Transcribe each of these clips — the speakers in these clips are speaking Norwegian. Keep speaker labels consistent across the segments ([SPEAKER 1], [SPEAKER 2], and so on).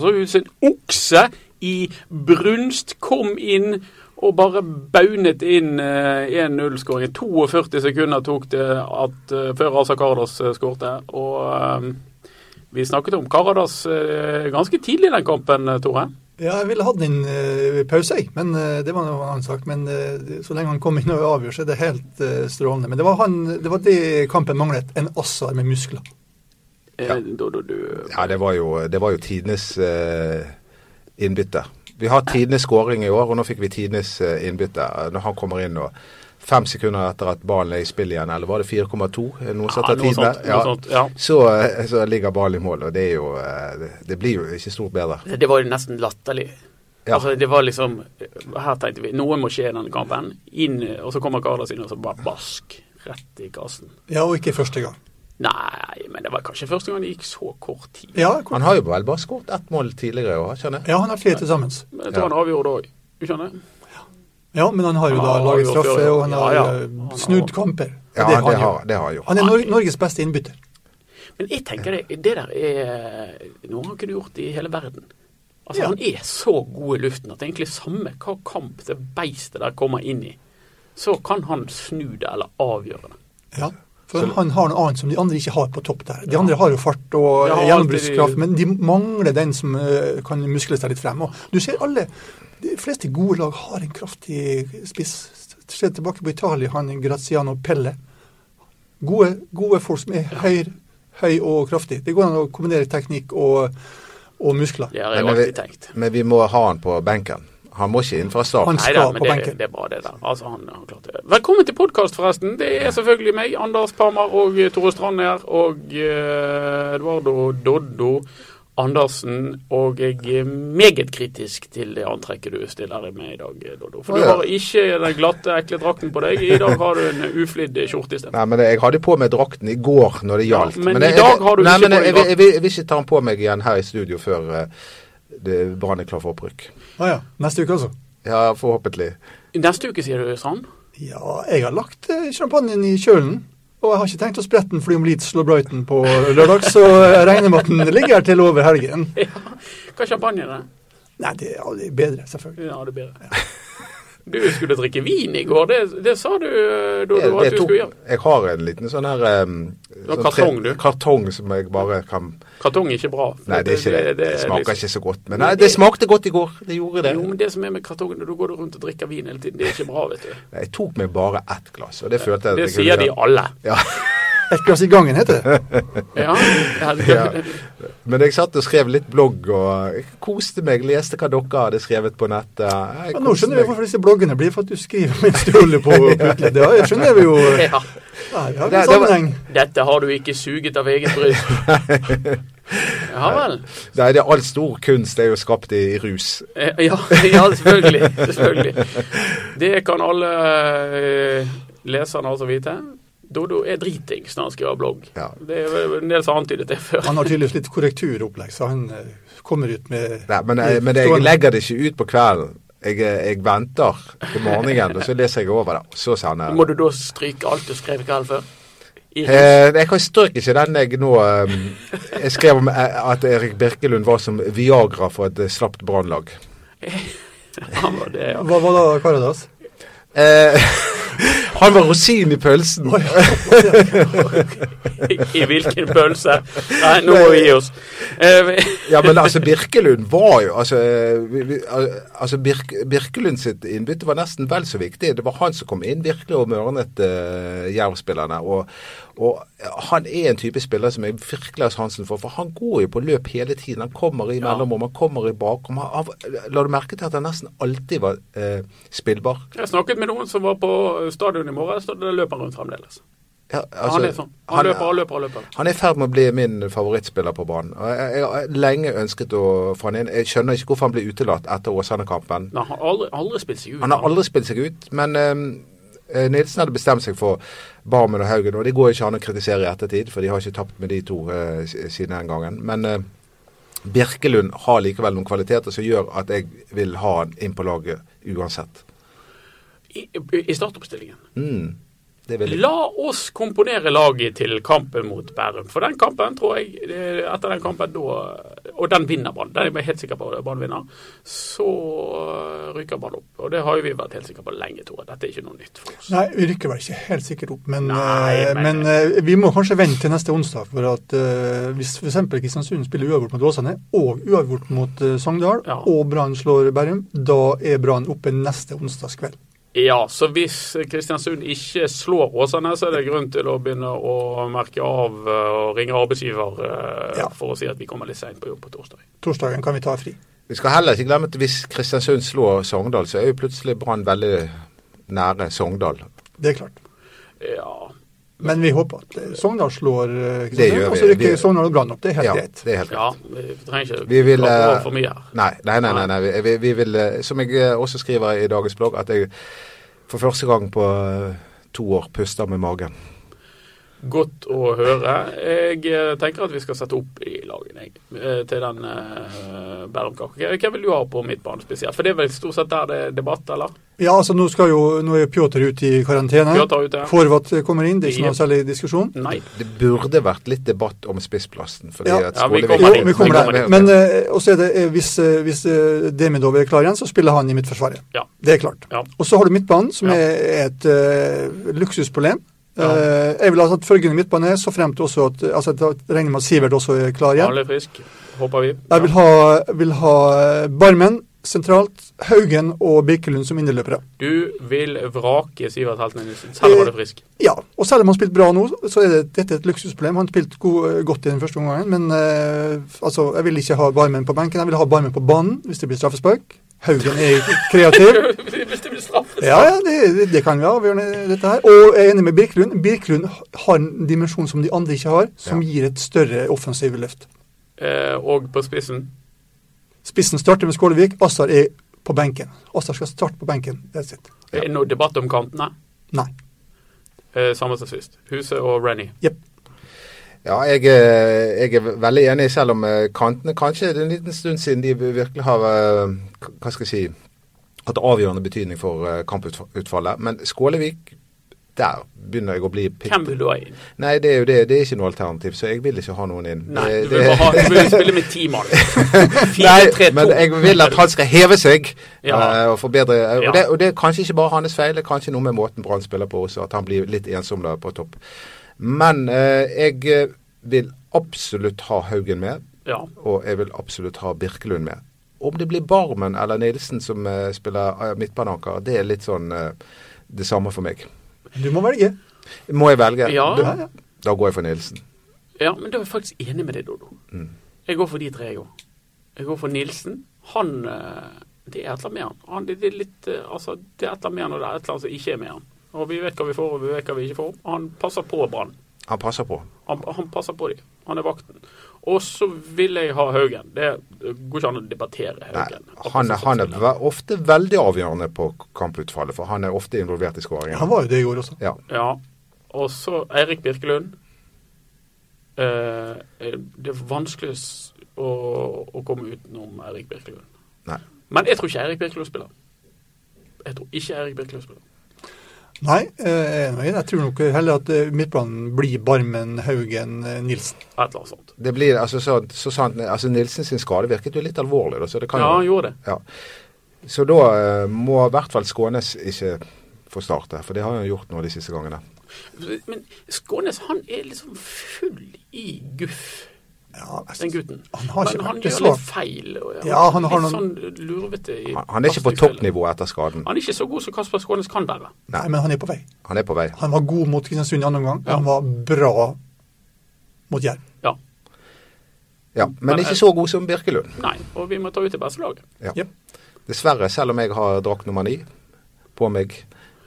[SPEAKER 1] Så ut som en okse i brunst kom inn og bare baunet inn eh, 1-0-skåringen. 42 sekunder tok det at, eh, før Asa Karadas eh, skårte. Og eh, vi snakket om Karadas eh, ganske tidlig i den kampen, eh, Tore.
[SPEAKER 2] Ja, jeg ville hatt den inn i pause, jeg. Men eh, det var noe annet sak. Men eh, det- så lenge han kom inn og avgjør, så er det helt eh, strålende. Men det var, han, det var det kampen manglet. En assar med muskler.
[SPEAKER 1] Eh, da- da du-
[SPEAKER 3] Ja, det var jo, det var jo tidenes eh, innbytte. Vi har tidenes skåring i år, og nå fikk vi tidenes eh, innbytte. Eh, Når han kommer inn og fem sekunder etter at ballen er i spill igjen, eller var det 4,2? Eh, Noen
[SPEAKER 1] Ja, noe
[SPEAKER 3] setter tid med.
[SPEAKER 1] sånt, noe sånt, ja.
[SPEAKER 3] Så, eh, så ligger ballen i mål, og det, er jo, eh, det- det blir jo ikke stort bedre.
[SPEAKER 1] Det det var jo nesten latterlig.
[SPEAKER 3] Ja.
[SPEAKER 1] Altså, det var liksom Her tenkte vi noe må skje i denne kampen. Inn, og så kommer Karadas inn, og så bare bask. Rett i kassen.
[SPEAKER 2] Ja, og ikke første gang.
[SPEAKER 1] Nei, men det var kanskje første gang det gikk så kort tid.
[SPEAKER 2] Ja, hvor-
[SPEAKER 3] Han har jo vel bare skåret ett mål tidligere i år, skjønner jeg.
[SPEAKER 2] ja han har flere til sammen.
[SPEAKER 1] Men jeg tror
[SPEAKER 3] Ja.
[SPEAKER 1] han avgjorde òg. Du skjønner?
[SPEAKER 2] Ja, men han har jo
[SPEAKER 1] Han
[SPEAKER 2] da
[SPEAKER 1] har
[SPEAKER 2] laget
[SPEAKER 1] jo
[SPEAKER 2] straffe,
[SPEAKER 1] før-
[SPEAKER 2] og han har
[SPEAKER 1] ja, ja.
[SPEAKER 2] eh,
[SPEAKER 1] Han har-
[SPEAKER 2] snudd kamper. Og
[SPEAKER 3] Ja,
[SPEAKER 2] det er
[SPEAKER 3] det
[SPEAKER 2] jo.
[SPEAKER 3] har, det har han gjort.
[SPEAKER 2] Han er Nor Norges beste innbytter.
[SPEAKER 1] Men jeg tenker det, det der er noe han kunne gjort i hele verden. Altså,
[SPEAKER 2] Ja.
[SPEAKER 1] Han er så god i luften at det er egentlig samme hva kamp det beistet der kommer inn i, så kan han snu det eller avgjøre det.
[SPEAKER 2] Ja. For han har noe annet som de andre ikke har på topp der. De andre har jo fart og
[SPEAKER 1] Ja, og alltid-
[SPEAKER 2] gjennombruddskraft, men de mangler den som eh, kan muskle seg litt frem. Og du ser alle, De fleste gode lag har en kraftig spiss. Se tilbake på Italia, han Graziano Pelle. Gode, gode folk som er høy, høy og kraftig. Det går an å kombinere teknikk og, og muskler.
[SPEAKER 1] Det har jeg
[SPEAKER 3] Men vi,
[SPEAKER 1] alltid tenkt.
[SPEAKER 3] men vi må ha han på benken. Han må ikke inn fra start.
[SPEAKER 2] Han
[SPEAKER 1] Nei
[SPEAKER 2] skal
[SPEAKER 1] men
[SPEAKER 2] på
[SPEAKER 1] det,
[SPEAKER 2] benken.
[SPEAKER 1] det er bra, det der. Altså, han, han klarte det. Velkommen til podkast, forresten. Det er selvfølgelig meg, Anders Parmar og eh, Tore Strand her. Og eh, Eduardo Doddo Andersen. Og jeg er meget kritisk til det antrekket du stiller deg med i dag, eh, Doddo. For
[SPEAKER 3] Å,
[SPEAKER 1] du
[SPEAKER 3] ja.
[SPEAKER 1] har ikke den glatte, ekle drakten på deg. I dag har du en eh, uflidd skjorte isteden.
[SPEAKER 3] Nei, men jeg hadde på meg drakten i går når det gjaldt.
[SPEAKER 1] Ja, men
[SPEAKER 3] jeg,
[SPEAKER 1] i dag har du
[SPEAKER 3] nei,
[SPEAKER 1] ikke
[SPEAKER 3] men
[SPEAKER 1] på
[SPEAKER 3] jeg,
[SPEAKER 1] deg
[SPEAKER 3] jeg, vil- jeg, vil- jeg vil ikke ta den på meg igjen her i studio før eh, det- Brann er klar for opprykk.
[SPEAKER 2] Ah, ja. Neste uke, altså.
[SPEAKER 3] Ja, forhåpentlig.
[SPEAKER 1] Neste uke, sier du, Strand?
[SPEAKER 2] Ja, jeg har lagt eh, champagnen i kjølen. Og jeg har ikke tenkt å sprette den fordi om Leeds slår Brighton på lørdag, så jeg regner med at den ligger her til over helgen.
[SPEAKER 1] Ja. Hva champagne er det?
[SPEAKER 2] Nei, det er aldri bedre, selvfølgelig.
[SPEAKER 1] Ja, det blir det. Du skulle drikke vin i går, det, det sa du, eh, Doddo, at
[SPEAKER 3] Jeg,
[SPEAKER 1] du skulle gjøre.
[SPEAKER 3] jeg har en liten sånn her em,
[SPEAKER 1] har
[SPEAKER 3] sånn
[SPEAKER 1] kartong,
[SPEAKER 3] tre-
[SPEAKER 1] du.
[SPEAKER 3] kartong som jeg bare kan
[SPEAKER 1] Kartong er ikke bra. for
[SPEAKER 3] Nei, det er ikke det. Det
[SPEAKER 1] er
[SPEAKER 3] smaker
[SPEAKER 1] liksom-
[SPEAKER 3] ikke så godt. Men
[SPEAKER 1] Nei,
[SPEAKER 3] nei,
[SPEAKER 1] det-
[SPEAKER 3] det smakte godt i går. Det gjorde det.
[SPEAKER 1] Jo, men det som er med kartongen, da går du rundt og drikker vin hele tiden. Det er ikke bra, vet du.
[SPEAKER 3] Jeg tok meg bare ett glass, og det følte jeg at
[SPEAKER 1] Det
[SPEAKER 3] jeg kunne
[SPEAKER 1] sier de
[SPEAKER 3] gjøre.
[SPEAKER 1] alle.
[SPEAKER 3] Ja.
[SPEAKER 2] Et glass i gangen heter det.
[SPEAKER 1] Ja, ja, det-
[SPEAKER 3] Ja. Men jeg satt og skrev litt blogg, og jeg koste meg. Leste hva dere hadde skrevet på nettet. Jeg
[SPEAKER 2] Ja, nå
[SPEAKER 3] koste
[SPEAKER 2] skjønner vi
[SPEAKER 3] meg.
[SPEAKER 2] hvorfor disse bloggene blir for at du skriver mens du holder på å putle. Det har- skjønner vi jo. eh,
[SPEAKER 1] ja.
[SPEAKER 2] Her har vi
[SPEAKER 3] Det-
[SPEAKER 2] en
[SPEAKER 3] det var-
[SPEAKER 2] sammenheng.
[SPEAKER 1] Dette har du ikke suget av eget bryst. Ja vel.
[SPEAKER 3] Nei, det er all stor kunst er jo skapt i, i rus.
[SPEAKER 1] Eh, Ja, ja selvfølgelig. selvfølgelig. Det kan alle eh, leserne altså vite. Dodo er dritings når han skriver blogg.
[SPEAKER 3] Ja.
[SPEAKER 1] Det er vel en del som har antydet det før.
[SPEAKER 2] Han har tydeligvis litt korrekturopplegg, så han eh, kommer ut med
[SPEAKER 3] Nei, men, jeg, men jeg legger det ikke ut på kvelden. Jeg, eh, jeg venter til morgenen, og så leser jeg over det. og Så sender jeg.
[SPEAKER 1] Må du da stryke alt du skrev i kveld før? I rus?
[SPEAKER 3] Eh, jeg kan strøk ikke den jeg nå eh, Jeg skrev om eh, at Erik Birkelund var som Viagra for et eh, slapt brannlag.
[SPEAKER 1] Ja, men det, ja.
[SPEAKER 2] Hva var da Karadas?
[SPEAKER 3] Eh, han var rosinen i pølsen.
[SPEAKER 1] I hvilken pølse? Nei, nå må vi gi oss. Eh, vi-
[SPEAKER 3] Ja, men altså, Birkelund var jo Altså, eh, vi- vi- al- altså Birk, Birkelund sitt innbytte var nesten vel så viktig. Det var han som kom inn virkelig og mørnet uh, Jerv-spillerne. Og, og eh, han er en type spiller som jeg virkelig har sansen for. For han går jo på løp hele tiden. Han kommer i mellomrom, han kommer i bakrom. Han- han- La du merke til at han nesten alltid var eh, spillbar?
[SPEAKER 1] Jeg snakket med noen som var på stadion i morges, og da løp han rundt fremdeles.
[SPEAKER 3] Ja, altså,
[SPEAKER 1] han er sånn. Han, løper og løper og løper.
[SPEAKER 3] Han er i ferd med å bli min favorittspiller på banen. Og Jeg jeg har lenge ønsket å få han inn. Jeg skjønner ikke hvorfor han ble utelatt etter Åsane-kampen.
[SPEAKER 1] Men han har aldri, aldri spilt seg ut.
[SPEAKER 3] Han har aldri spilt seg ut, men eh, Nilsen hadde bestemt seg for Barmen og Haugen. Og det går ikke an å kritisere i ettertid, for de har ikke tapt med de to eh, s- siden den gangen. Men eh, Birkelund har likevel noen kvaliteter som gjør at jeg vil ha han inn på laget uansett.
[SPEAKER 1] I, i startoppstillingen.
[SPEAKER 3] Mm. Det vil jeg.
[SPEAKER 1] La oss komponere laget til kampen mot Bærum. For den kampen tror jeg eh, Etter den kampen da Og den vinner Brann. Den er jeg helt sikker på at Brann vinner. Så eh, ryker Brann opp. Og det har jo vi vært helt sikre på lenge, Tore. Dette er ikke noe nytt for oss.
[SPEAKER 2] Nei, vi rykker vel ikke helt sikkert opp, men,
[SPEAKER 1] Nei,
[SPEAKER 2] eh,
[SPEAKER 1] men-
[SPEAKER 2] men eh, vi må kanskje vente til neste onsdag. For at eh, hvis f.eks. Kristiansund spiller uavgjort mot Åsane og uavgjort mot eh, Sogndal,
[SPEAKER 1] Ja.
[SPEAKER 2] og Brann slår Bærum, da er Brann oppe neste onsdagskveld.
[SPEAKER 1] Ja, så hvis Kristiansund ikke slår Åsane, så er det grunn til å begynne å merke av eh, og ringe arbeidsgiver eh,
[SPEAKER 2] Ja.
[SPEAKER 1] for å si at vi kommer litt seint på jobb på torsdag.
[SPEAKER 2] Torsdagen kan vi ta fri.
[SPEAKER 3] Vi skal heller ikke glemme at hvis Kristiansund slår Sogndal, så er jo plutselig Brann veldig nære Sogndal.
[SPEAKER 2] Det er klart.
[SPEAKER 1] Ja,
[SPEAKER 2] Men vi håper at eh, Sogndal slår eh,
[SPEAKER 3] Det gjør
[SPEAKER 2] Kristiansund, og så
[SPEAKER 3] vi.
[SPEAKER 2] rykker
[SPEAKER 3] Vi-
[SPEAKER 2] Sogndal og Brann opp. Det er helt
[SPEAKER 3] ja,
[SPEAKER 2] greit.
[SPEAKER 3] det er helt greit.
[SPEAKER 1] ja vi trenger
[SPEAKER 3] Vi
[SPEAKER 1] ikke
[SPEAKER 3] vil,
[SPEAKER 1] klappe
[SPEAKER 3] eh,
[SPEAKER 1] over for mye her.
[SPEAKER 3] Nei, nei, nei. nei, nei. Vi, vi, vi vil, eh, som jeg eh, også skriver i dagens blogg, at jeg for første gang på eh, to år puster med magen.
[SPEAKER 1] Godt å høre. Jeg eh, tenker at vi skal sette opp i lagene jeg, eh, til den eh, Bærum-kaka. Hvem vil du ha på midtbanen spesielt? For det er vel stort sett der det er debatt, eller?
[SPEAKER 2] Ja, altså nå, skal jo, nå er Pjotr ute i karantene.
[SPEAKER 1] Pjotr er ute.
[SPEAKER 2] Horvath kommer inn, det er ikke noe
[SPEAKER 1] Ja.
[SPEAKER 2] særlig diskusjon.
[SPEAKER 1] Nei.
[SPEAKER 3] Det burde vært litt debatt om spissplassen. Fordi
[SPEAKER 2] Ja.
[SPEAKER 3] at
[SPEAKER 1] Ja, vi
[SPEAKER 3] Skolevik-
[SPEAKER 1] kommer
[SPEAKER 2] Jo,
[SPEAKER 1] dit.
[SPEAKER 2] vi kommer der.
[SPEAKER 1] dit.
[SPEAKER 2] Men eh, også er det, eh, hvis, eh, hvis eh, Demidov er klar igjen, så spiller han i midtforsvaret.
[SPEAKER 1] Ja.
[SPEAKER 2] Det er klart.
[SPEAKER 1] Ja.
[SPEAKER 2] Og så har du midtbanen, som
[SPEAKER 1] Ja.
[SPEAKER 2] er et eh, luksusproblem.
[SPEAKER 1] Ja.
[SPEAKER 2] Eh, jeg vil ha tatt følgende midtbane, så fremt også at altså, Jeg regner med at Sivert også er klar igjen.
[SPEAKER 1] Alle er frisk, håper vi.
[SPEAKER 2] Jeg vil ha, vil ha Barmen sentralt, Haugen og Birkelund som innerløpere.
[SPEAKER 1] Du vil vrake Sivert Heltene Nilsen, selv om han er frisk.
[SPEAKER 2] Ja, og selv om han har spilt bra nå, så er det, dette et luksusproblem. Han spilte go eh, godt i den første omgangen, men eh, altså, jeg vil ikke ha Barmen på benken. Jeg vil ha Barmen på banen hvis det blir straffespark. Haugen er kreativ.
[SPEAKER 1] Hvis det blir straff.
[SPEAKER 2] Ja, ja det, det- det kan være avgjørende, dette her. Og jeg er enig med Birkelund. Birkelund har en dimensjon som de andre ikke har, som
[SPEAKER 3] Ja.
[SPEAKER 2] gir et større offensivt løft.
[SPEAKER 1] Eh, og på spissen.
[SPEAKER 2] Spissen starter med Skålevik. Asar er på benken. Asar skal starte på benken. That's it.
[SPEAKER 1] Det er noe debatt om kantene.
[SPEAKER 2] Nei.
[SPEAKER 1] Eh, samme som sist. Huset og Rennie.
[SPEAKER 2] Jepp.
[SPEAKER 3] Ja, jeg, eh, jeg er veldig enig, selv om eh, kantene Kanskje det er en liten stund siden de virkelig har eh, Hva skal jeg si Hatt avgjørende betydning for eh, kamputfallet. Men Skålevik, der begynner jeg å bli pitt.
[SPEAKER 1] Hvem vil du ha inn?
[SPEAKER 3] Nei, det er jo det. Det er ikke noe alternativ, så jeg vil ikke ha noen inn.
[SPEAKER 1] Nei,
[SPEAKER 3] Det-
[SPEAKER 1] du vil, bare ha, du vil spille med ti mann.
[SPEAKER 3] Nei,
[SPEAKER 1] Fire, tre, to.
[SPEAKER 3] men jeg vil at han skal heve seg
[SPEAKER 1] Ja.
[SPEAKER 3] eh, og forbedre. eh,
[SPEAKER 1] Ja.
[SPEAKER 3] Og, det, og det er kanskje ikke bare hans feil, det er kanskje noe med måten Brann spiller på også, at han blir litt ensom da på topp. Men eh, jeg eh, vil absolutt ha Haugen med,
[SPEAKER 1] Ja.
[SPEAKER 3] og jeg vil absolutt ha Birkelund med. Om det blir Barmen eller Nilsen som eh, spiller eh, midtbananker, det er litt sånn eh, det samme for meg.
[SPEAKER 2] Du må velge.
[SPEAKER 3] Må jeg velge?
[SPEAKER 1] Ja.
[SPEAKER 3] Da, da går jeg for Nilsen.
[SPEAKER 1] Ja, men da er jeg faktisk enig med deg, Dodo.
[SPEAKER 3] Mm.
[SPEAKER 1] Jeg går for de tre, jeg òg. Jeg går for Nilsen. Han eh, Det er et eller annet med han. han det, det er litt, eh, altså, det er et eller annet med han, og det er et eller annet som ikke er med han. Og vi vet hva vi får, og vi vet hva vi ikke får. Han passer på Brann.
[SPEAKER 3] Han passer på.
[SPEAKER 1] Han, han passer på dem. Han er vakten. Og så vil jeg ha Haugen. Det går ikke an å debattere
[SPEAKER 3] Nei,
[SPEAKER 1] Haugen.
[SPEAKER 3] han, er- han er ve- ofte veldig avgjørende på kamputfallet, for han er ofte involvert i skåringen.
[SPEAKER 2] Han var jo det i går også.
[SPEAKER 3] Ja.
[SPEAKER 1] Ja. Og så Eirik Birkelund. Eh, det er vanskelig s- å, å komme utenom Eirik Birkelund.
[SPEAKER 3] Nei.
[SPEAKER 1] Men jeg tror ikke Eirik Birkelund spiller. Jeg tror ikke Eirik Birkelund spiller.
[SPEAKER 2] Nei, eh, nei, jeg tror nok heller at eh, midtbanen blir Barmen, Haugen, eh, Nilsen.
[SPEAKER 1] Et eller annet sånt.
[SPEAKER 3] Det blir, altså, så, så sant, altså Nilsen sin skade virket jo litt alvorlig, da, så det kan
[SPEAKER 1] Ja, han
[SPEAKER 3] jo
[SPEAKER 1] gjorde det.
[SPEAKER 3] ja. Så da eh, må i hvert fall Skånes ikke få starte, for det har han gjort nå de siste gangene.
[SPEAKER 1] Men Skånes han er liksom full i guff,
[SPEAKER 2] Ja, jeg-
[SPEAKER 1] den gutten.
[SPEAKER 2] Han har ikke
[SPEAKER 1] Men han
[SPEAKER 2] vært det
[SPEAKER 1] gjør
[SPEAKER 2] så-
[SPEAKER 1] litt feil. Og,
[SPEAKER 2] Ja, han har
[SPEAKER 1] litt
[SPEAKER 2] noen-
[SPEAKER 1] sånn lurvete i
[SPEAKER 3] Han, han er ikke på
[SPEAKER 1] pasningsspillet.
[SPEAKER 3] toppnivå etter skaden.
[SPEAKER 1] Han er ikke så god som Kasper Skånes kan være.
[SPEAKER 2] Nei, men han er på vei.
[SPEAKER 3] Han er på vei.
[SPEAKER 2] Han var god mot Kristiansund i andre omgang.
[SPEAKER 1] Ja.
[SPEAKER 2] Han var bra mot Jerv.
[SPEAKER 1] Ja.
[SPEAKER 3] Ja, men
[SPEAKER 1] Men, eh,
[SPEAKER 3] ikke så god som Birkelund.
[SPEAKER 1] Nei, og vi må ta ut det beste laget.
[SPEAKER 3] Ja.
[SPEAKER 2] Jep.
[SPEAKER 3] Dessverre, selv om jeg har drakt nummer ni på meg.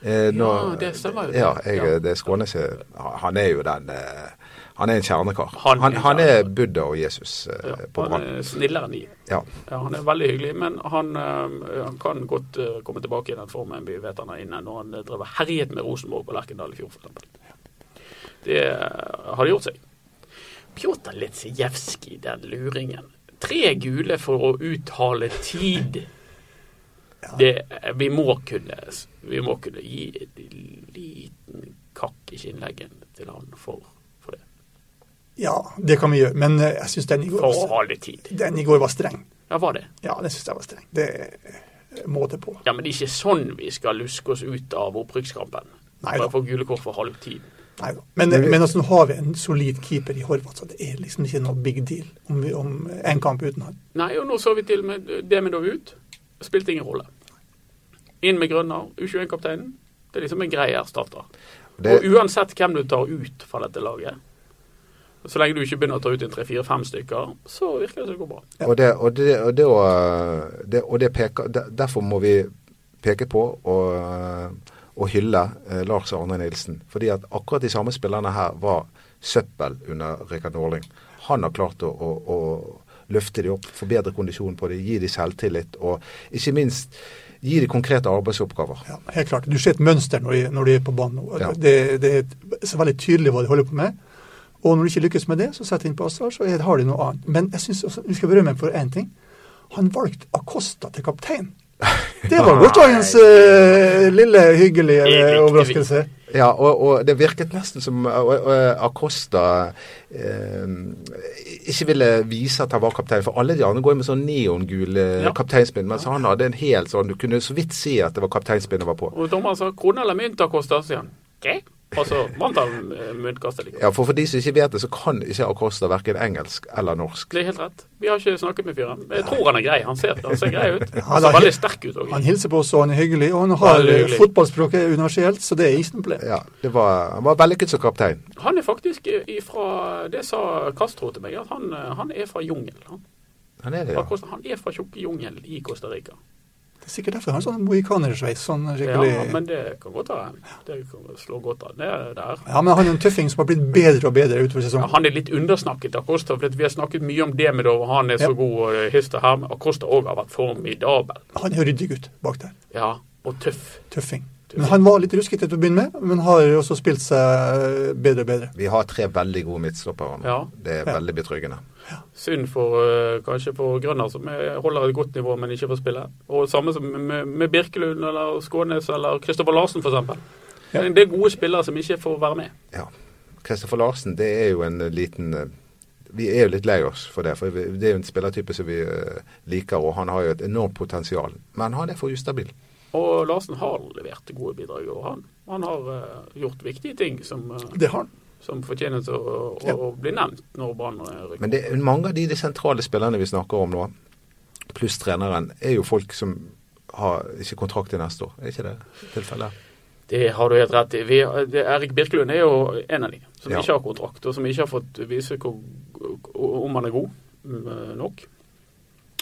[SPEAKER 3] Eh,
[SPEAKER 1] Ja, det stemmer jo.
[SPEAKER 3] Ja, jeg,
[SPEAKER 1] Ja.
[SPEAKER 3] det er Skånes er- Han er jo den eh, Han er en kjernekar.
[SPEAKER 1] Han
[SPEAKER 3] Han,
[SPEAKER 1] er
[SPEAKER 3] han,
[SPEAKER 1] en
[SPEAKER 3] er
[SPEAKER 1] kjernekar.
[SPEAKER 3] Buddha og Jesus eh,
[SPEAKER 1] Ja,
[SPEAKER 3] på
[SPEAKER 1] han
[SPEAKER 3] Brann.
[SPEAKER 1] er snillere enn de.
[SPEAKER 3] Ja.
[SPEAKER 1] Ja, han er veldig hyggelig, men han, eh, han kan godt eh, komme tilbake i den formen vi vet han er inne når han eh, drev og herjet med Rosenborg på Lerkendal i fjor, f.eks. Det eh, har det gjort seg. Pjotr Litsijevskij, den luringen. Tre gule for å uttale tid. Det, eh, vi, må kunne, vi må kunne gi en liten kakk i skinnleggen til han for, for det.
[SPEAKER 2] Ja, det kan vi gjøre. Men eh, jeg syns den, i går
[SPEAKER 1] For å
[SPEAKER 2] var-
[SPEAKER 1] ha litt tid.
[SPEAKER 2] den i går var streng.
[SPEAKER 1] Ja, var det.
[SPEAKER 2] Ja, den syns jeg var streng. Det eh, måte på.
[SPEAKER 1] Ja, men det er ikke sånn vi skal luske oss ut av opprykkskampen.
[SPEAKER 2] Nei
[SPEAKER 1] Bare
[SPEAKER 2] da.
[SPEAKER 1] få gule kort for halvtid.
[SPEAKER 2] Neida. Men,
[SPEAKER 3] Men vi-
[SPEAKER 2] men altså, nå har vi en solid keeper i Horvath, så det er liksom ikke noe big deal om, vi- om en kamp uten han.
[SPEAKER 1] Nei, og nå så vi til med Demidov ut. Spilte ingen rolle. Inn med Grønner, U21-kapteinen. Det er liksom en grei erstatter.
[SPEAKER 3] Det-
[SPEAKER 1] Og uansett hvem du tar ut fra dette laget, så lenge du ikke begynner å ta ut en tre-fire-fem stykker, så virker det som det går bra.
[SPEAKER 3] Og det, og det, og det, å- det, og det peker, der- derfor må vi peke på og, og hylle eh, Lars Arne Nilsen. Fordi at akkurat de samme spillerne her var søppel under Rikard Norling. Han har klart å, å, å løfte de opp, forbedre kondisjonen på dem, gi de selvtillit og ikke minst gi de konkrete arbeidsoppgaver.
[SPEAKER 2] Ja, helt klart. Du ser et mønster når de, når de er på banen. nå.
[SPEAKER 3] Ja.
[SPEAKER 2] Det, det er et- så veldig tydelig hva de holder på med. Og når de ikke lykkes med det, så setter de inn på Asvar, så er- har de noe annet. Men jeg synes også, vi skal berømme ham for én ting. Han valgte Acosta til kaptein. Det
[SPEAKER 1] Ah.
[SPEAKER 2] var gårsdagens eh, lille hyggelige
[SPEAKER 1] Det er
[SPEAKER 2] eh,
[SPEAKER 1] viktig.
[SPEAKER 2] overraskelse.
[SPEAKER 3] Ja, og, og det virket nesten som eh, og- og Acosta eh, ikke ville vise at han var kaptein, for alle de andre går jo med sånn neongul eh,
[SPEAKER 1] Ja.
[SPEAKER 3] kapteinspinn, mens han hadde en helt sånn Du kunne så vidt si at det var kapteinspinnet var på.
[SPEAKER 1] Og dommeren sa 'krone eller mynt har kosta', sier han. «Ok». Og så vant han eh, myntkastet likevel.
[SPEAKER 3] Ja, for, for de som ikke vet det, så kan ikke Acosta verken engelsk eller norsk.
[SPEAKER 1] Det er helt rett. Vi har ikke snakket med fyren. Men Jeg tror han er grei. Han ser, han ser grei ut. Han
[SPEAKER 2] da-
[SPEAKER 1] ser veldig sterk ut
[SPEAKER 2] Han
[SPEAKER 1] òg.
[SPEAKER 2] hilser på oss, og han er hyggelig. Og han har
[SPEAKER 1] Veldig
[SPEAKER 2] eh,
[SPEAKER 1] hyggelig.
[SPEAKER 2] fotballspråket universelt, så det er ikke noe problem.
[SPEAKER 3] Ja, det var, Han var vellykket som kaptein.
[SPEAKER 1] Han er faktisk ifra Det sa Castro til meg, at han, eh, han er fra jungel. Han.
[SPEAKER 3] Han er det,
[SPEAKER 1] Fra
[SPEAKER 3] ja.
[SPEAKER 1] Costa- han er fra tjukke jungel i Costa Rica.
[SPEAKER 2] Det er sikkert derfor han har sånn mohikanersveis. Sånn
[SPEAKER 1] Ja,
[SPEAKER 2] skikkelig
[SPEAKER 1] men det kan godt være. Det kan slå godt an. Det er der.
[SPEAKER 2] Ja, men han er en tøffing som har blitt bedre og bedre utover
[SPEAKER 1] Ja,
[SPEAKER 2] sesongen.
[SPEAKER 1] Han er litt undersnakket, Acosta. For vi har snakket mye om det med det, og han er så
[SPEAKER 2] Ja.
[SPEAKER 1] god og hist og her. Men Acosta òg har vært formidabel.
[SPEAKER 2] Han er en ryddig gutt bak der.
[SPEAKER 1] Ja, og tøff.
[SPEAKER 2] Tøffing. Men han var litt ruskete til å begynne med, men har jo også spilt seg eh, bedre og bedre.
[SPEAKER 3] Vi har tre veldig gode midtstoppere nå.
[SPEAKER 1] Ja.
[SPEAKER 3] Det er
[SPEAKER 2] Ja.
[SPEAKER 3] veldig betryggende.
[SPEAKER 1] Synd for eh, kanskje for Grønner, som er- holder et godt nivå, men ikke får spille. Og samme som med, med Birkelund eller Skånes eller Kristoffer Larsen, f.eks.
[SPEAKER 2] Ja.
[SPEAKER 1] Det er gode spillere som ikke får være med.
[SPEAKER 3] Ja. Kristoffer Larsen, det er jo en eh, liten eh, Vi er jo litt lei oss for det. For vi- det er jo en spillertype som vi eh, liker, og han har jo et enormt potensial. Men han er for ustabil.
[SPEAKER 1] Og Larsen har levert gode bidrag, og han, han har eh, gjort viktige ting som, eh,
[SPEAKER 2] Det har han.
[SPEAKER 1] som fortjener til å, å,
[SPEAKER 2] Ja.
[SPEAKER 1] å bli nevnt når Brann eh, rykker.
[SPEAKER 3] Men det, mange av de, de sentrale spillerne vi snakker om nå, pluss treneren, er jo folk som har ikke kontrakt til neste år. Er ikke det tilfellet?
[SPEAKER 1] Det har du helt rett i. Vi, det, Erik Birkelund er jo en av de som
[SPEAKER 3] Ja.
[SPEAKER 1] ikke har kontrakt, og som ikke har fått vise hvor, om han er god mm, nok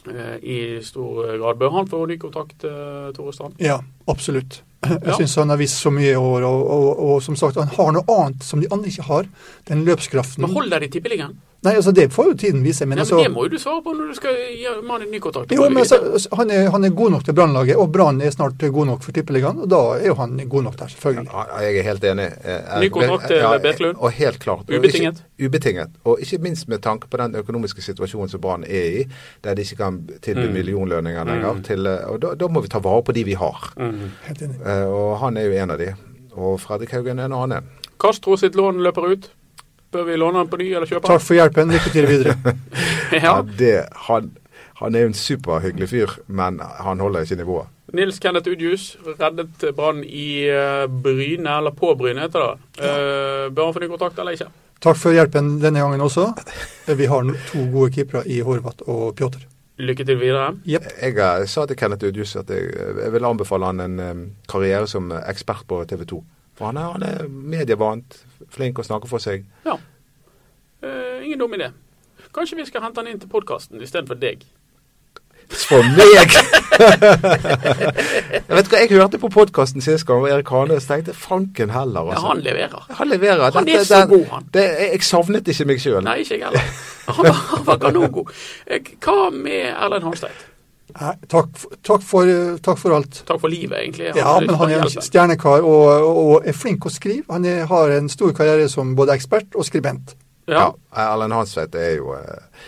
[SPEAKER 1] eh, i stor grad. Bør han få ny kontrakt, eh, Tore Strand?
[SPEAKER 2] Ja, absolutt. Jeg
[SPEAKER 1] Ja.
[SPEAKER 2] synes han har vist så mye i år, og, og, og som sagt, han har noe annet som de andre ikke har. Den løpskraften
[SPEAKER 1] Men hold deg i tippeligaen.
[SPEAKER 2] Nei, altså, det får jo tiden vise, Mm. men
[SPEAKER 1] Nei,
[SPEAKER 2] altså
[SPEAKER 1] men det må jo du svare på når du skal gi mannen en ny kontrakt.
[SPEAKER 2] jo, men altså, altså, han, er, han er god nok til Brannlaget, og Brann er snart god nok for Tippeligaen. Og da er jo han god nok der, selvfølgelig.
[SPEAKER 3] Ja, jeg er helt enig. Eh,
[SPEAKER 1] Ny kontrakt til Birkelund.
[SPEAKER 3] Og helt klart. Og
[SPEAKER 1] Ubetinget.
[SPEAKER 3] Ikke, ubetinget. Og ikke minst med tanke på den økonomiske situasjonen som Brann er i, der de ikke kan
[SPEAKER 1] Mm.
[SPEAKER 3] tilby millionlønninger lenger. Til, eh, og da, da må vi ta vare på de vi har.
[SPEAKER 1] Mm.
[SPEAKER 2] Helt enig.
[SPEAKER 3] Eh, og han er jo en av de. Og Fredrik Haugen er en annen.
[SPEAKER 1] Castro sitt lån løper ut. Bør vi låne han på ny, eller kjøpe han?
[SPEAKER 2] Takk for hjelpen. Lykke til videre.
[SPEAKER 1] Ja.
[SPEAKER 3] det, han, han er jo en superhyggelig fyr, men han holder ikke nivået.
[SPEAKER 1] Nils Kenneth Udjus reddet Brann i eh, Bryne, eller på Bryne heter det. Eh, Bør han få ny kontrakt eller ikke?
[SPEAKER 2] Takk for hjelpen denne gangen også. Vi har to gode keepere i Horvath og Pjotr.
[SPEAKER 1] Lykke til videre.
[SPEAKER 2] Jepp.
[SPEAKER 3] Jeg eh, sa til Kenneth Udjus at jeg, jeg vil anbefale han en eh, karriere som ekspert på TV 2. For han er, han er medievant, flink å snakke for seg.
[SPEAKER 1] Ja. Eh, ingen dum idé. Kanskje vi skal hente han inn til podkasten istedenfor deg.
[SPEAKER 3] For meg! jeg vet hva, jeg hørte på podkasten sist gang og Erik Hane, så tenkte jeg fanken heller.
[SPEAKER 1] Ja,
[SPEAKER 3] Altså.
[SPEAKER 1] han leverer.
[SPEAKER 3] han leverer.
[SPEAKER 1] Han er så god, han.
[SPEAKER 3] Det, jeg, jeg savnet ikke meg sjøl.
[SPEAKER 1] Nei, ikke jeg heller. Han var, han var kanongod. Eh, Hva med Erlend Hansteit?
[SPEAKER 2] Nei, Takk, f- takk, for, eh, takk for alt.
[SPEAKER 1] Takk for livet, egentlig.
[SPEAKER 2] Ja, men han er en
[SPEAKER 1] hjelper.
[SPEAKER 2] stjernekar og, og er flink å skrive. Han er, har en stor karriere som både ekspert og skribent.
[SPEAKER 1] Ja.
[SPEAKER 3] Erlend Hansveit er jo eh,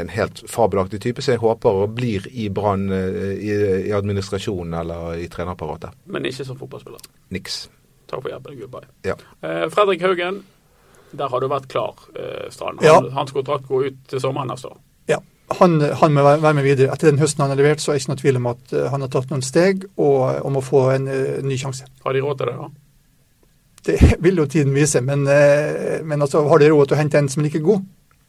[SPEAKER 3] en helt fabelaktig type som jeg håper blir i Brann eh, i, i administrasjonen eller i trenerapparatet.
[SPEAKER 1] men ikke som fotballspiller.
[SPEAKER 3] Niks.
[SPEAKER 1] Takk for hjelpen. Goodbye.
[SPEAKER 3] Ja.
[SPEAKER 1] Eh, Fredrik Haugen, der har du vært klar, eh, Strand.
[SPEAKER 2] Ja.
[SPEAKER 1] Han, Hans kontrakt går ut til sommeren neste år.
[SPEAKER 2] Ja, han, han må være være med videre. Etter den høsten han har levert, så er det ikke noe tvil om at eh, han har tatt noen steg og, og må få en eh, ny sjanse.
[SPEAKER 1] Har de råd til det, da?
[SPEAKER 2] Det vil jo tiden vise, men, eh, men altså, har de råd til å hente en som er like god?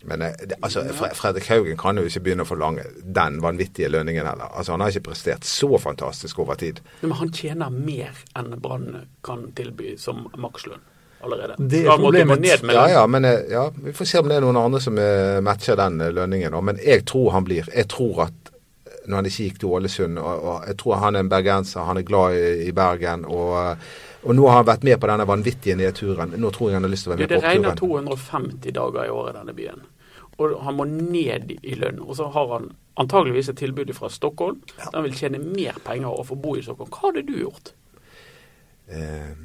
[SPEAKER 3] Men eh, det- altså, Fre- Fredrik Haugen kan jo ikke begynne å forlange den vanvittige lønningen heller. Altså, Han har ikke prestert så fantastisk over tid.
[SPEAKER 1] Nei, Men han tjener mer enn Brann kan tilby som makslønn allerede.
[SPEAKER 2] Det er
[SPEAKER 1] Da måtte
[SPEAKER 2] problemet.
[SPEAKER 1] gå ned med
[SPEAKER 3] Ja,
[SPEAKER 1] den.
[SPEAKER 3] ja, men eh, ja, Vi får se om det er noen andre som eh, matcher den eh, lønningen. nå. Men jeg tror han blir Jeg tror at eh, når han ikke gikk til Ålesund og, og Jeg tror han er en bergenser, han er glad i, i Bergen. Og, eh, og nå har han vært med på denne vanvittige nedturen. Nå tror jeg han har lyst til å være
[SPEAKER 1] Det,
[SPEAKER 3] med på
[SPEAKER 1] det regner
[SPEAKER 3] oppturen.
[SPEAKER 1] 250 dager i året i denne byen. Og han må ned i lønn. Og så har han antageligvis et tilbud fra Stockholm. der Han vil tjene mer penger og få bo i Stockholm. Hva hadde du gjort?
[SPEAKER 3] Eh,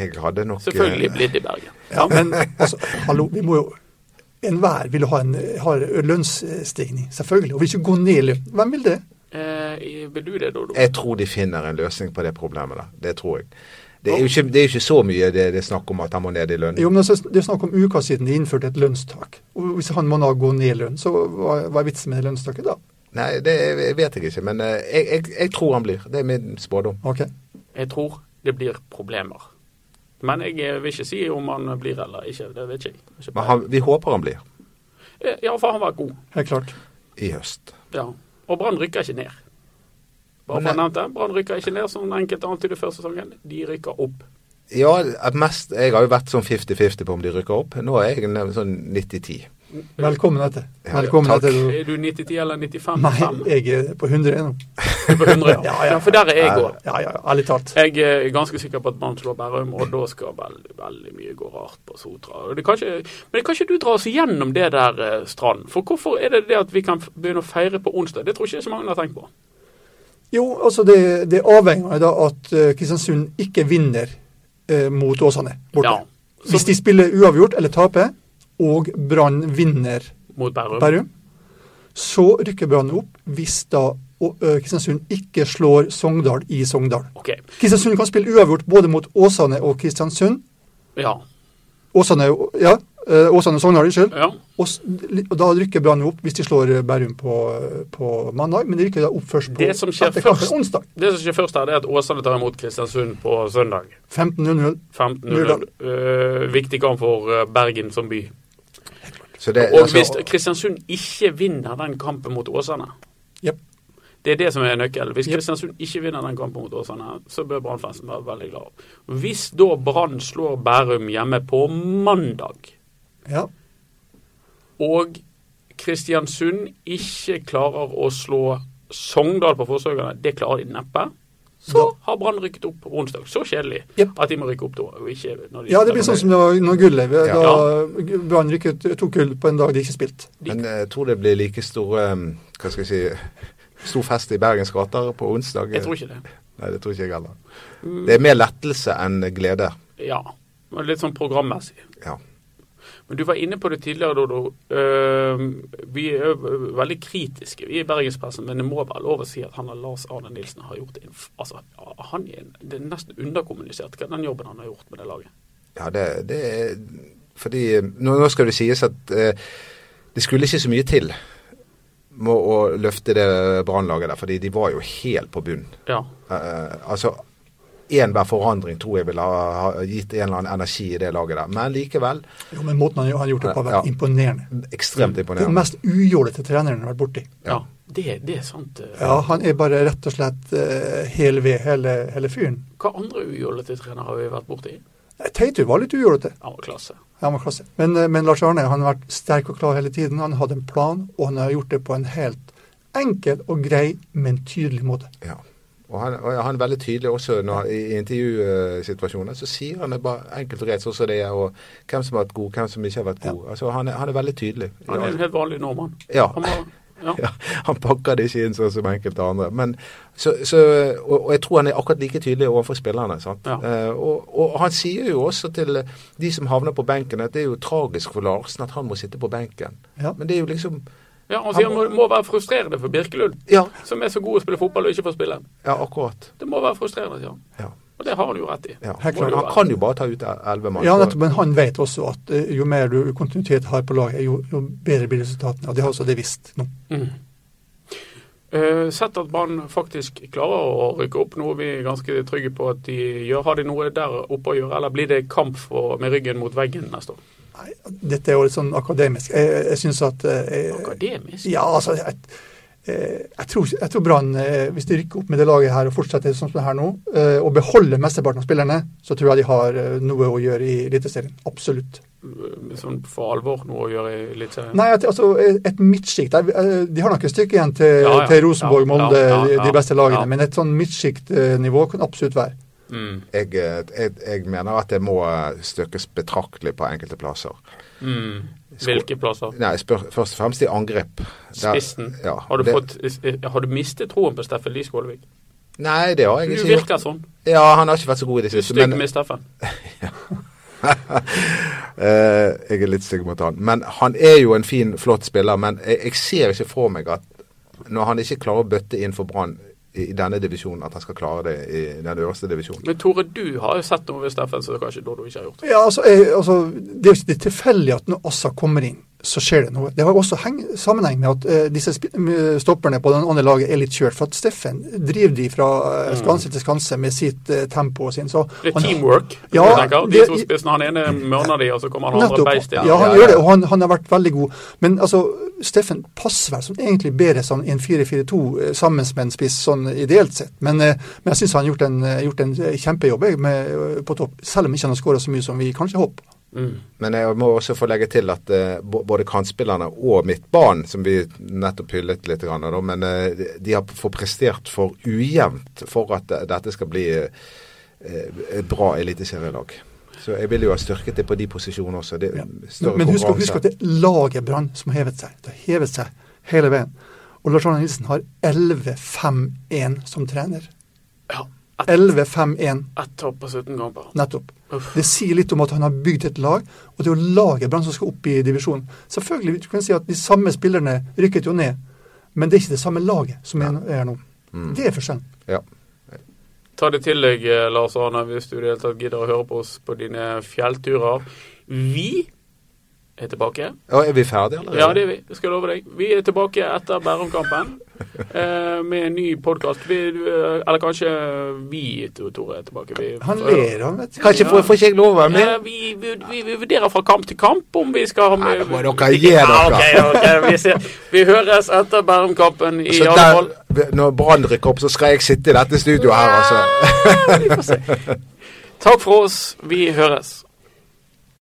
[SPEAKER 3] jeg hadde nok eh,
[SPEAKER 1] Selvfølgelig blitt i Bergen.
[SPEAKER 2] Ja, men altså, hallo, vi må jo Enhver vil jo ha en ha lønnsstigning, selvfølgelig. Og vil ikke gå ned i lønn. Hvem vil det?
[SPEAKER 1] Eh, vil du det, Dodo?
[SPEAKER 3] Jeg tror de finner en løsning på det problemet der. Det tror jeg. Det er jo ikke, det er jo ikke så mye det, det er snakk om at han må ned i lønn.
[SPEAKER 2] Jo, men altså, Det er snakk om uker siden de innførte et lønnstak. Og Hvis han må da gå ned i lønn, så hva, hva er vitsen med det lønnstaket da?
[SPEAKER 3] Nei, det jeg vet jeg ikke, men eh, jeg, jeg, jeg tror han blir. Det er min spådom.
[SPEAKER 2] Ok.
[SPEAKER 1] Jeg tror det blir problemer. Men jeg eh, vil ikke si om han blir eller ikke. Det vet ikke jeg. Ikke
[SPEAKER 3] Men han, vi håper han blir
[SPEAKER 1] Eh, Ja, for han var god.
[SPEAKER 2] Helt klart.
[SPEAKER 3] i høst.
[SPEAKER 1] Ja. Og Brann rykker ikke ned. Bare for å
[SPEAKER 3] Nei.
[SPEAKER 1] nevne det. Brann rykker ikke ned, som enkelte antydet før sesongen. De rykker opp.
[SPEAKER 3] Ja, at mest, jeg har jo vært sånn 50-50 på om de rykker opp. Nå er jeg en sånn 90-10.
[SPEAKER 2] Velkommen etter.
[SPEAKER 3] Ja,
[SPEAKER 2] Velkommen
[SPEAKER 3] takk.
[SPEAKER 2] etter.
[SPEAKER 1] Er du 90-10 eller 95? Fem?
[SPEAKER 2] Nei, jeg er på 100 nå.
[SPEAKER 1] Du er på 100, ja.
[SPEAKER 2] Ja, ja.
[SPEAKER 1] ja, for der er jeg òg.
[SPEAKER 2] Ja, ja, ærlig talt.
[SPEAKER 1] Jeg eh, er ganske sikker på at Brann slår Bærum, og da skal veldig veldig mye gå rart på Sotra. Og Det kan ikke, men kan ikke du dra oss igjennom det der, eh, Strand? For hvorfor er det det at vi kan f- begynne å feire på onsdag? Det tror ikke jeg så mange har tenkt på.
[SPEAKER 2] Jo, altså det, det avhenger av da at eh, Kristiansund ikke vinner eh, mot Åsane borte.
[SPEAKER 1] Ja. Så-
[SPEAKER 2] Hvis de spiller uavgjort eller taper, og Brann vinner
[SPEAKER 1] Mot Bærum.
[SPEAKER 2] Bærum, så rykker Brann opp hvis da og, eh, Kristiansund ikke slår Sogndal i Sogndal.
[SPEAKER 1] OK.
[SPEAKER 2] Kristiansund kan spille uavgjort både mot Åsane og Kristiansund.
[SPEAKER 1] Ja.
[SPEAKER 2] Åsane, ja, eh, Åsane og Sogndal, unnskyld.
[SPEAKER 1] ja.
[SPEAKER 2] Og, s- og da rykker Brann opp hvis de slår eh, Bærum på, eh, på mandag, men de rykker da opp først på
[SPEAKER 1] Det som skjer
[SPEAKER 2] etter kampen
[SPEAKER 1] først-
[SPEAKER 2] onsdag.
[SPEAKER 1] Det som skjer først her, det er at Åsane tar imot Kristiansund på søndag.
[SPEAKER 2] 15.00.
[SPEAKER 1] 15-0. Eh, viktig kamp for eh, Bergen som by.
[SPEAKER 3] Så
[SPEAKER 2] Eh,
[SPEAKER 3] det,
[SPEAKER 1] Og
[SPEAKER 3] altså,
[SPEAKER 1] hvis Kristiansund ikke vinner den kampen mot Åsane
[SPEAKER 2] Jep.
[SPEAKER 1] Det er det som er nøkkelen. Hvis
[SPEAKER 2] Jep.
[SPEAKER 1] Kristiansund ikke vinner den kampen mot Åsane, så bør Brann-fansen være veldig glad. Hvis da Brann slår Bærum hjemme på mandag,
[SPEAKER 2] Ja.
[SPEAKER 1] og Kristiansund ikke klarer å slå Sogndal på forsøkene, det klarer de neppe. Så har Brann rykket opp på onsdag. Så kjedelig
[SPEAKER 2] Jep.
[SPEAKER 1] at de må rykke opp da. Og ikke når de
[SPEAKER 2] ja, det blir sånn som det var når gullet Da
[SPEAKER 1] Ja.
[SPEAKER 2] Brann rykket tok gull på en dag de ikke spilte.
[SPEAKER 3] men eh, jeg tror det blir like stor eh, Hva skal jeg si Stor fest i Bergens gater på onsdag.
[SPEAKER 1] Jeg tror ikke det.
[SPEAKER 3] Nei, det tror ikke jeg heller. Det er mer lettelse enn glede.
[SPEAKER 1] Ja. Men Litt sånn programmessig.
[SPEAKER 3] Ja.
[SPEAKER 1] Men du var inne på det tidligere, Dodo. Ehm, vi er jo veldig kritiske vi i bergenspressen, men det må være lov å si at han og Lars Arne Nilsen har gjort en, f- altså, han er, en- Det er nesten underkommunisert hva den jobben han har gjort med det laget.
[SPEAKER 3] Ja, det, det er Fordi eh, nå, nå skal det sies at eh, det skulle ikke så mye til med å løfte det brannlaget der, fordi de var jo helt på bunn.
[SPEAKER 1] Ja.
[SPEAKER 3] Eh, altså, enhver forandring tror jeg ville ha, ha gitt en eller annen energi i det laget der. Men likevel
[SPEAKER 2] Jo, men Måten han har gjort det på, har vært
[SPEAKER 3] Ja.
[SPEAKER 2] imponerende.
[SPEAKER 3] ekstremt
[SPEAKER 2] Den
[SPEAKER 3] imponerende.
[SPEAKER 2] mest ujålete treneren han har vært borti.
[SPEAKER 1] ja. Det, det er sant. eh.
[SPEAKER 2] Ja, han er bare rett og slett eh, hel ved, hele, hele fyren.
[SPEAKER 1] Hva andre ujålete trenere har vi vært borti?
[SPEAKER 2] Nei, Teitu var litt ujålete.
[SPEAKER 1] Han var klasse.
[SPEAKER 2] Han var klasse. Men, eh, men Lars Arne han har vært sterk og klar hele tiden. Han hadde en plan, og han har gjort det på en helt enkel og grei, men tydelig måte.
[SPEAKER 3] Ja. Og han, og han er veldig tydelig også når, han- i i intervjusituasjoner. Så sier han det bare enkelt og greit sånn som det er, og hvem som har vært god, hvem som ikke har vært god. Altså, han, er, han er veldig tydelig.
[SPEAKER 1] Han er en helt vanlig nordmann.
[SPEAKER 3] Ja.
[SPEAKER 1] Han var, ja.
[SPEAKER 3] ja, han pakker det ikke inn sånn som enkelte andre. Men, så, så, og, og jeg tror han er akkurat like tydelig overfor spillerne. Sant?
[SPEAKER 1] Ja.
[SPEAKER 3] Eh, og, og han sier jo også til de som havner på benken, at det er jo tragisk for Larsen at han må sitte på benken.
[SPEAKER 2] Ja.
[SPEAKER 3] Men det er jo liksom
[SPEAKER 1] Ja, han sier det må, må være frustrerende for Birkelund,
[SPEAKER 3] Ja,
[SPEAKER 1] som er så god å spille fotball og ikke får spille.
[SPEAKER 3] ja akkurat.
[SPEAKER 1] Det må være frustrerende, sier han.
[SPEAKER 3] Ja.
[SPEAKER 1] Og det har han jo rett i.
[SPEAKER 3] Ja.
[SPEAKER 2] Helt klart.
[SPEAKER 3] Men han kan jo bare ta ut elleve mann.
[SPEAKER 2] Ja,
[SPEAKER 3] så-
[SPEAKER 2] nettopp, men han vet også at eh, jo mer du kontinuitet har på laget, jo, jo bedre blir resultatene. Og det har også det visst nå.
[SPEAKER 1] Mm. Eh, sett at Brann faktisk klarer å rykke opp, noe vi er ganske trygge på at de gjør. Har de noe der oppe å gjøre, eller blir det kamp for, med ryggen mot veggen neste år?
[SPEAKER 2] Nei, dette er jo litt sånn akademisk. Jeg, jeg- jeg syns at eh,
[SPEAKER 1] Akademisk?
[SPEAKER 2] Ja, altså jeg, eh, jeg tror, jeg tror Brann, eh, hvis de rykker opp med det laget her og fortsetter sånn som det er her nå, eh, og beholder mesteparten av spillerne, så tror jeg de har eh, noe å gjøre i Eliteserien. Absolutt.
[SPEAKER 1] Sånn for alvor noe å gjøre i litt eh,
[SPEAKER 2] Nei, at, altså eh, et midtsjikt eh, De har nok et stykke igjen til,
[SPEAKER 1] Ja, ja.
[SPEAKER 2] til Rosenborg,
[SPEAKER 1] Ja,
[SPEAKER 2] Molde,
[SPEAKER 1] ja, ja,
[SPEAKER 2] de- de beste lagene.
[SPEAKER 1] ja.
[SPEAKER 2] Men et sånn midtsjiktnivå kan absolutt være.
[SPEAKER 1] mm,
[SPEAKER 3] Jeg, jeg, jeg mener at det må støkkes betraktelig på enkelte plasser.
[SPEAKER 1] mm. Hvilke plasser?
[SPEAKER 3] Nei, spør, først og fremst i angrep. Der-
[SPEAKER 1] Spissen?
[SPEAKER 3] Ja,
[SPEAKER 1] Har du,
[SPEAKER 3] det,
[SPEAKER 1] fått, har du mistet troen på Steffen Lie Skålevik?
[SPEAKER 3] Nei, det har jeg
[SPEAKER 1] Du
[SPEAKER 3] ikke gjort.
[SPEAKER 1] virker sånn.
[SPEAKER 3] Ja, han har ikke vært så god i det
[SPEAKER 1] Du er
[SPEAKER 3] siste.
[SPEAKER 1] stygg
[SPEAKER 3] Men
[SPEAKER 1] med Steffen.
[SPEAKER 3] Eh, jeg er litt stygg mot han. Men han er jo en fin, flott spiller. Men jeg, jeg ser ikke for meg at når han ikke klarer å bøtte inn for Brann i, i denne divisjonen, at han skal klare det i den øverste divisjonen.
[SPEAKER 1] Men Tore, du har jo sett noe ved Steffen som kanskje Doddo ikke har gjort.
[SPEAKER 2] Ja, altså, jeg, altså Det er jo ikke det tilfeldig at når Assa kommer inn, så skjer det noe. Det har jo også heng, sammenheng med at eh, disse sp m- stopperne på den andre laget er litt kjørt. For at Steffen driver de fra eh, skanse til skanse med sitt eh, tempo og sin. Så
[SPEAKER 1] Litt
[SPEAKER 2] han-
[SPEAKER 1] Mm. teamwork.
[SPEAKER 2] Ja,
[SPEAKER 1] som jeg tenker. De
[SPEAKER 2] det-
[SPEAKER 1] to spissene, han ene mørner de, og så kommer han andre
[SPEAKER 2] Nettopp.
[SPEAKER 1] beist inn.
[SPEAKER 2] Ja, han
[SPEAKER 3] Ja,
[SPEAKER 2] gjør
[SPEAKER 3] ja.
[SPEAKER 2] det, og han, han har vært veldig god. Men altså, Steffen passer vel som egentlig bedre som en 4-4-2 eh, sammen med en spiss, sånn ideelt sett. Men, eh, men jeg syns han har gjort en, eh, gjort en eh, kjempejobb jeg, med, eh, på topp, selv om ikke han har skåra så mye som vi kanskje håper.
[SPEAKER 1] Mm.
[SPEAKER 3] Men jeg må også få legge til at eh, bo- både kantspillerne og midtbanen, som vi nettopp hyllet litt, grann, da, men eh, de- de har for prestert for ujevnt for at eh, dette skal bli eh, et bra eliteserielag. Så jeg vil jo ha styrket det på de posisjonene også. Det, er
[SPEAKER 2] Ja.
[SPEAKER 3] større
[SPEAKER 2] Men husk,
[SPEAKER 3] konkurranse.
[SPEAKER 2] husk at det er laget Brann som har hevet seg. Det har hevet seg hele veien. Og Lars Arne Nilsen har 11-5-1 som trener.
[SPEAKER 1] Ja, ett-
[SPEAKER 2] 11-5-1,
[SPEAKER 1] ett tap på 17 kamper.
[SPEAKER 2] nettopp.
[SPEAKER 1] Uff.
[SPEAKER 2] Det sier litt om at han har bygd et lag, og det er jo laget Brann som skal opp i divisjonen. Selvfølgelig du kan si at de samme spillerne rykket jo ned, men det er ikke det samme laget som er er nå. Det er forskjellen.
[SPEAKER 3] Ja.
[SPEAKER 1] Ta det til deg, eh, Lars Arne, hvis du i det hele tatt gidder å høre på oss på dine fjellturer. Vi er tilbake.
[SPEAKER 3] Og er vi ferdige allerede?
[SPEAKER 1] Ja, det er vi. Jeg skal love deg. Vi er tilbake etter Bærum-kampen eh, med en ny podkast. Eller kanskje vi, Tore, er tilbake. Vi,
[SPEAKER 2] Han ler, han vet du.
[SPEAKER 3] Kan ikke, får, får ikke jeg lov å være med?
[SPEAKER 1] Ja, vi, vi, vi, vi vurderer fra kamp til kamp om vi skal ha med
[SPEAKER 3] Nei, det må dere gi dere.
[SPEAKER 1] Ja, ok, ok, vi, ser. vi høres etter Bærum-kampen i
[SPEAKER 3] Så
[SPEAKER 1] alle fall.
[SPEAKER 3] Altså, der, når Brann rykker opp, så skal jeg
[SPEAKER 1] Ah,
[SPEAKER 3] sitte i dette studioet her, altså.
[SPEAKER 1] Ja, vi får se. Takk for oss. Vi høres.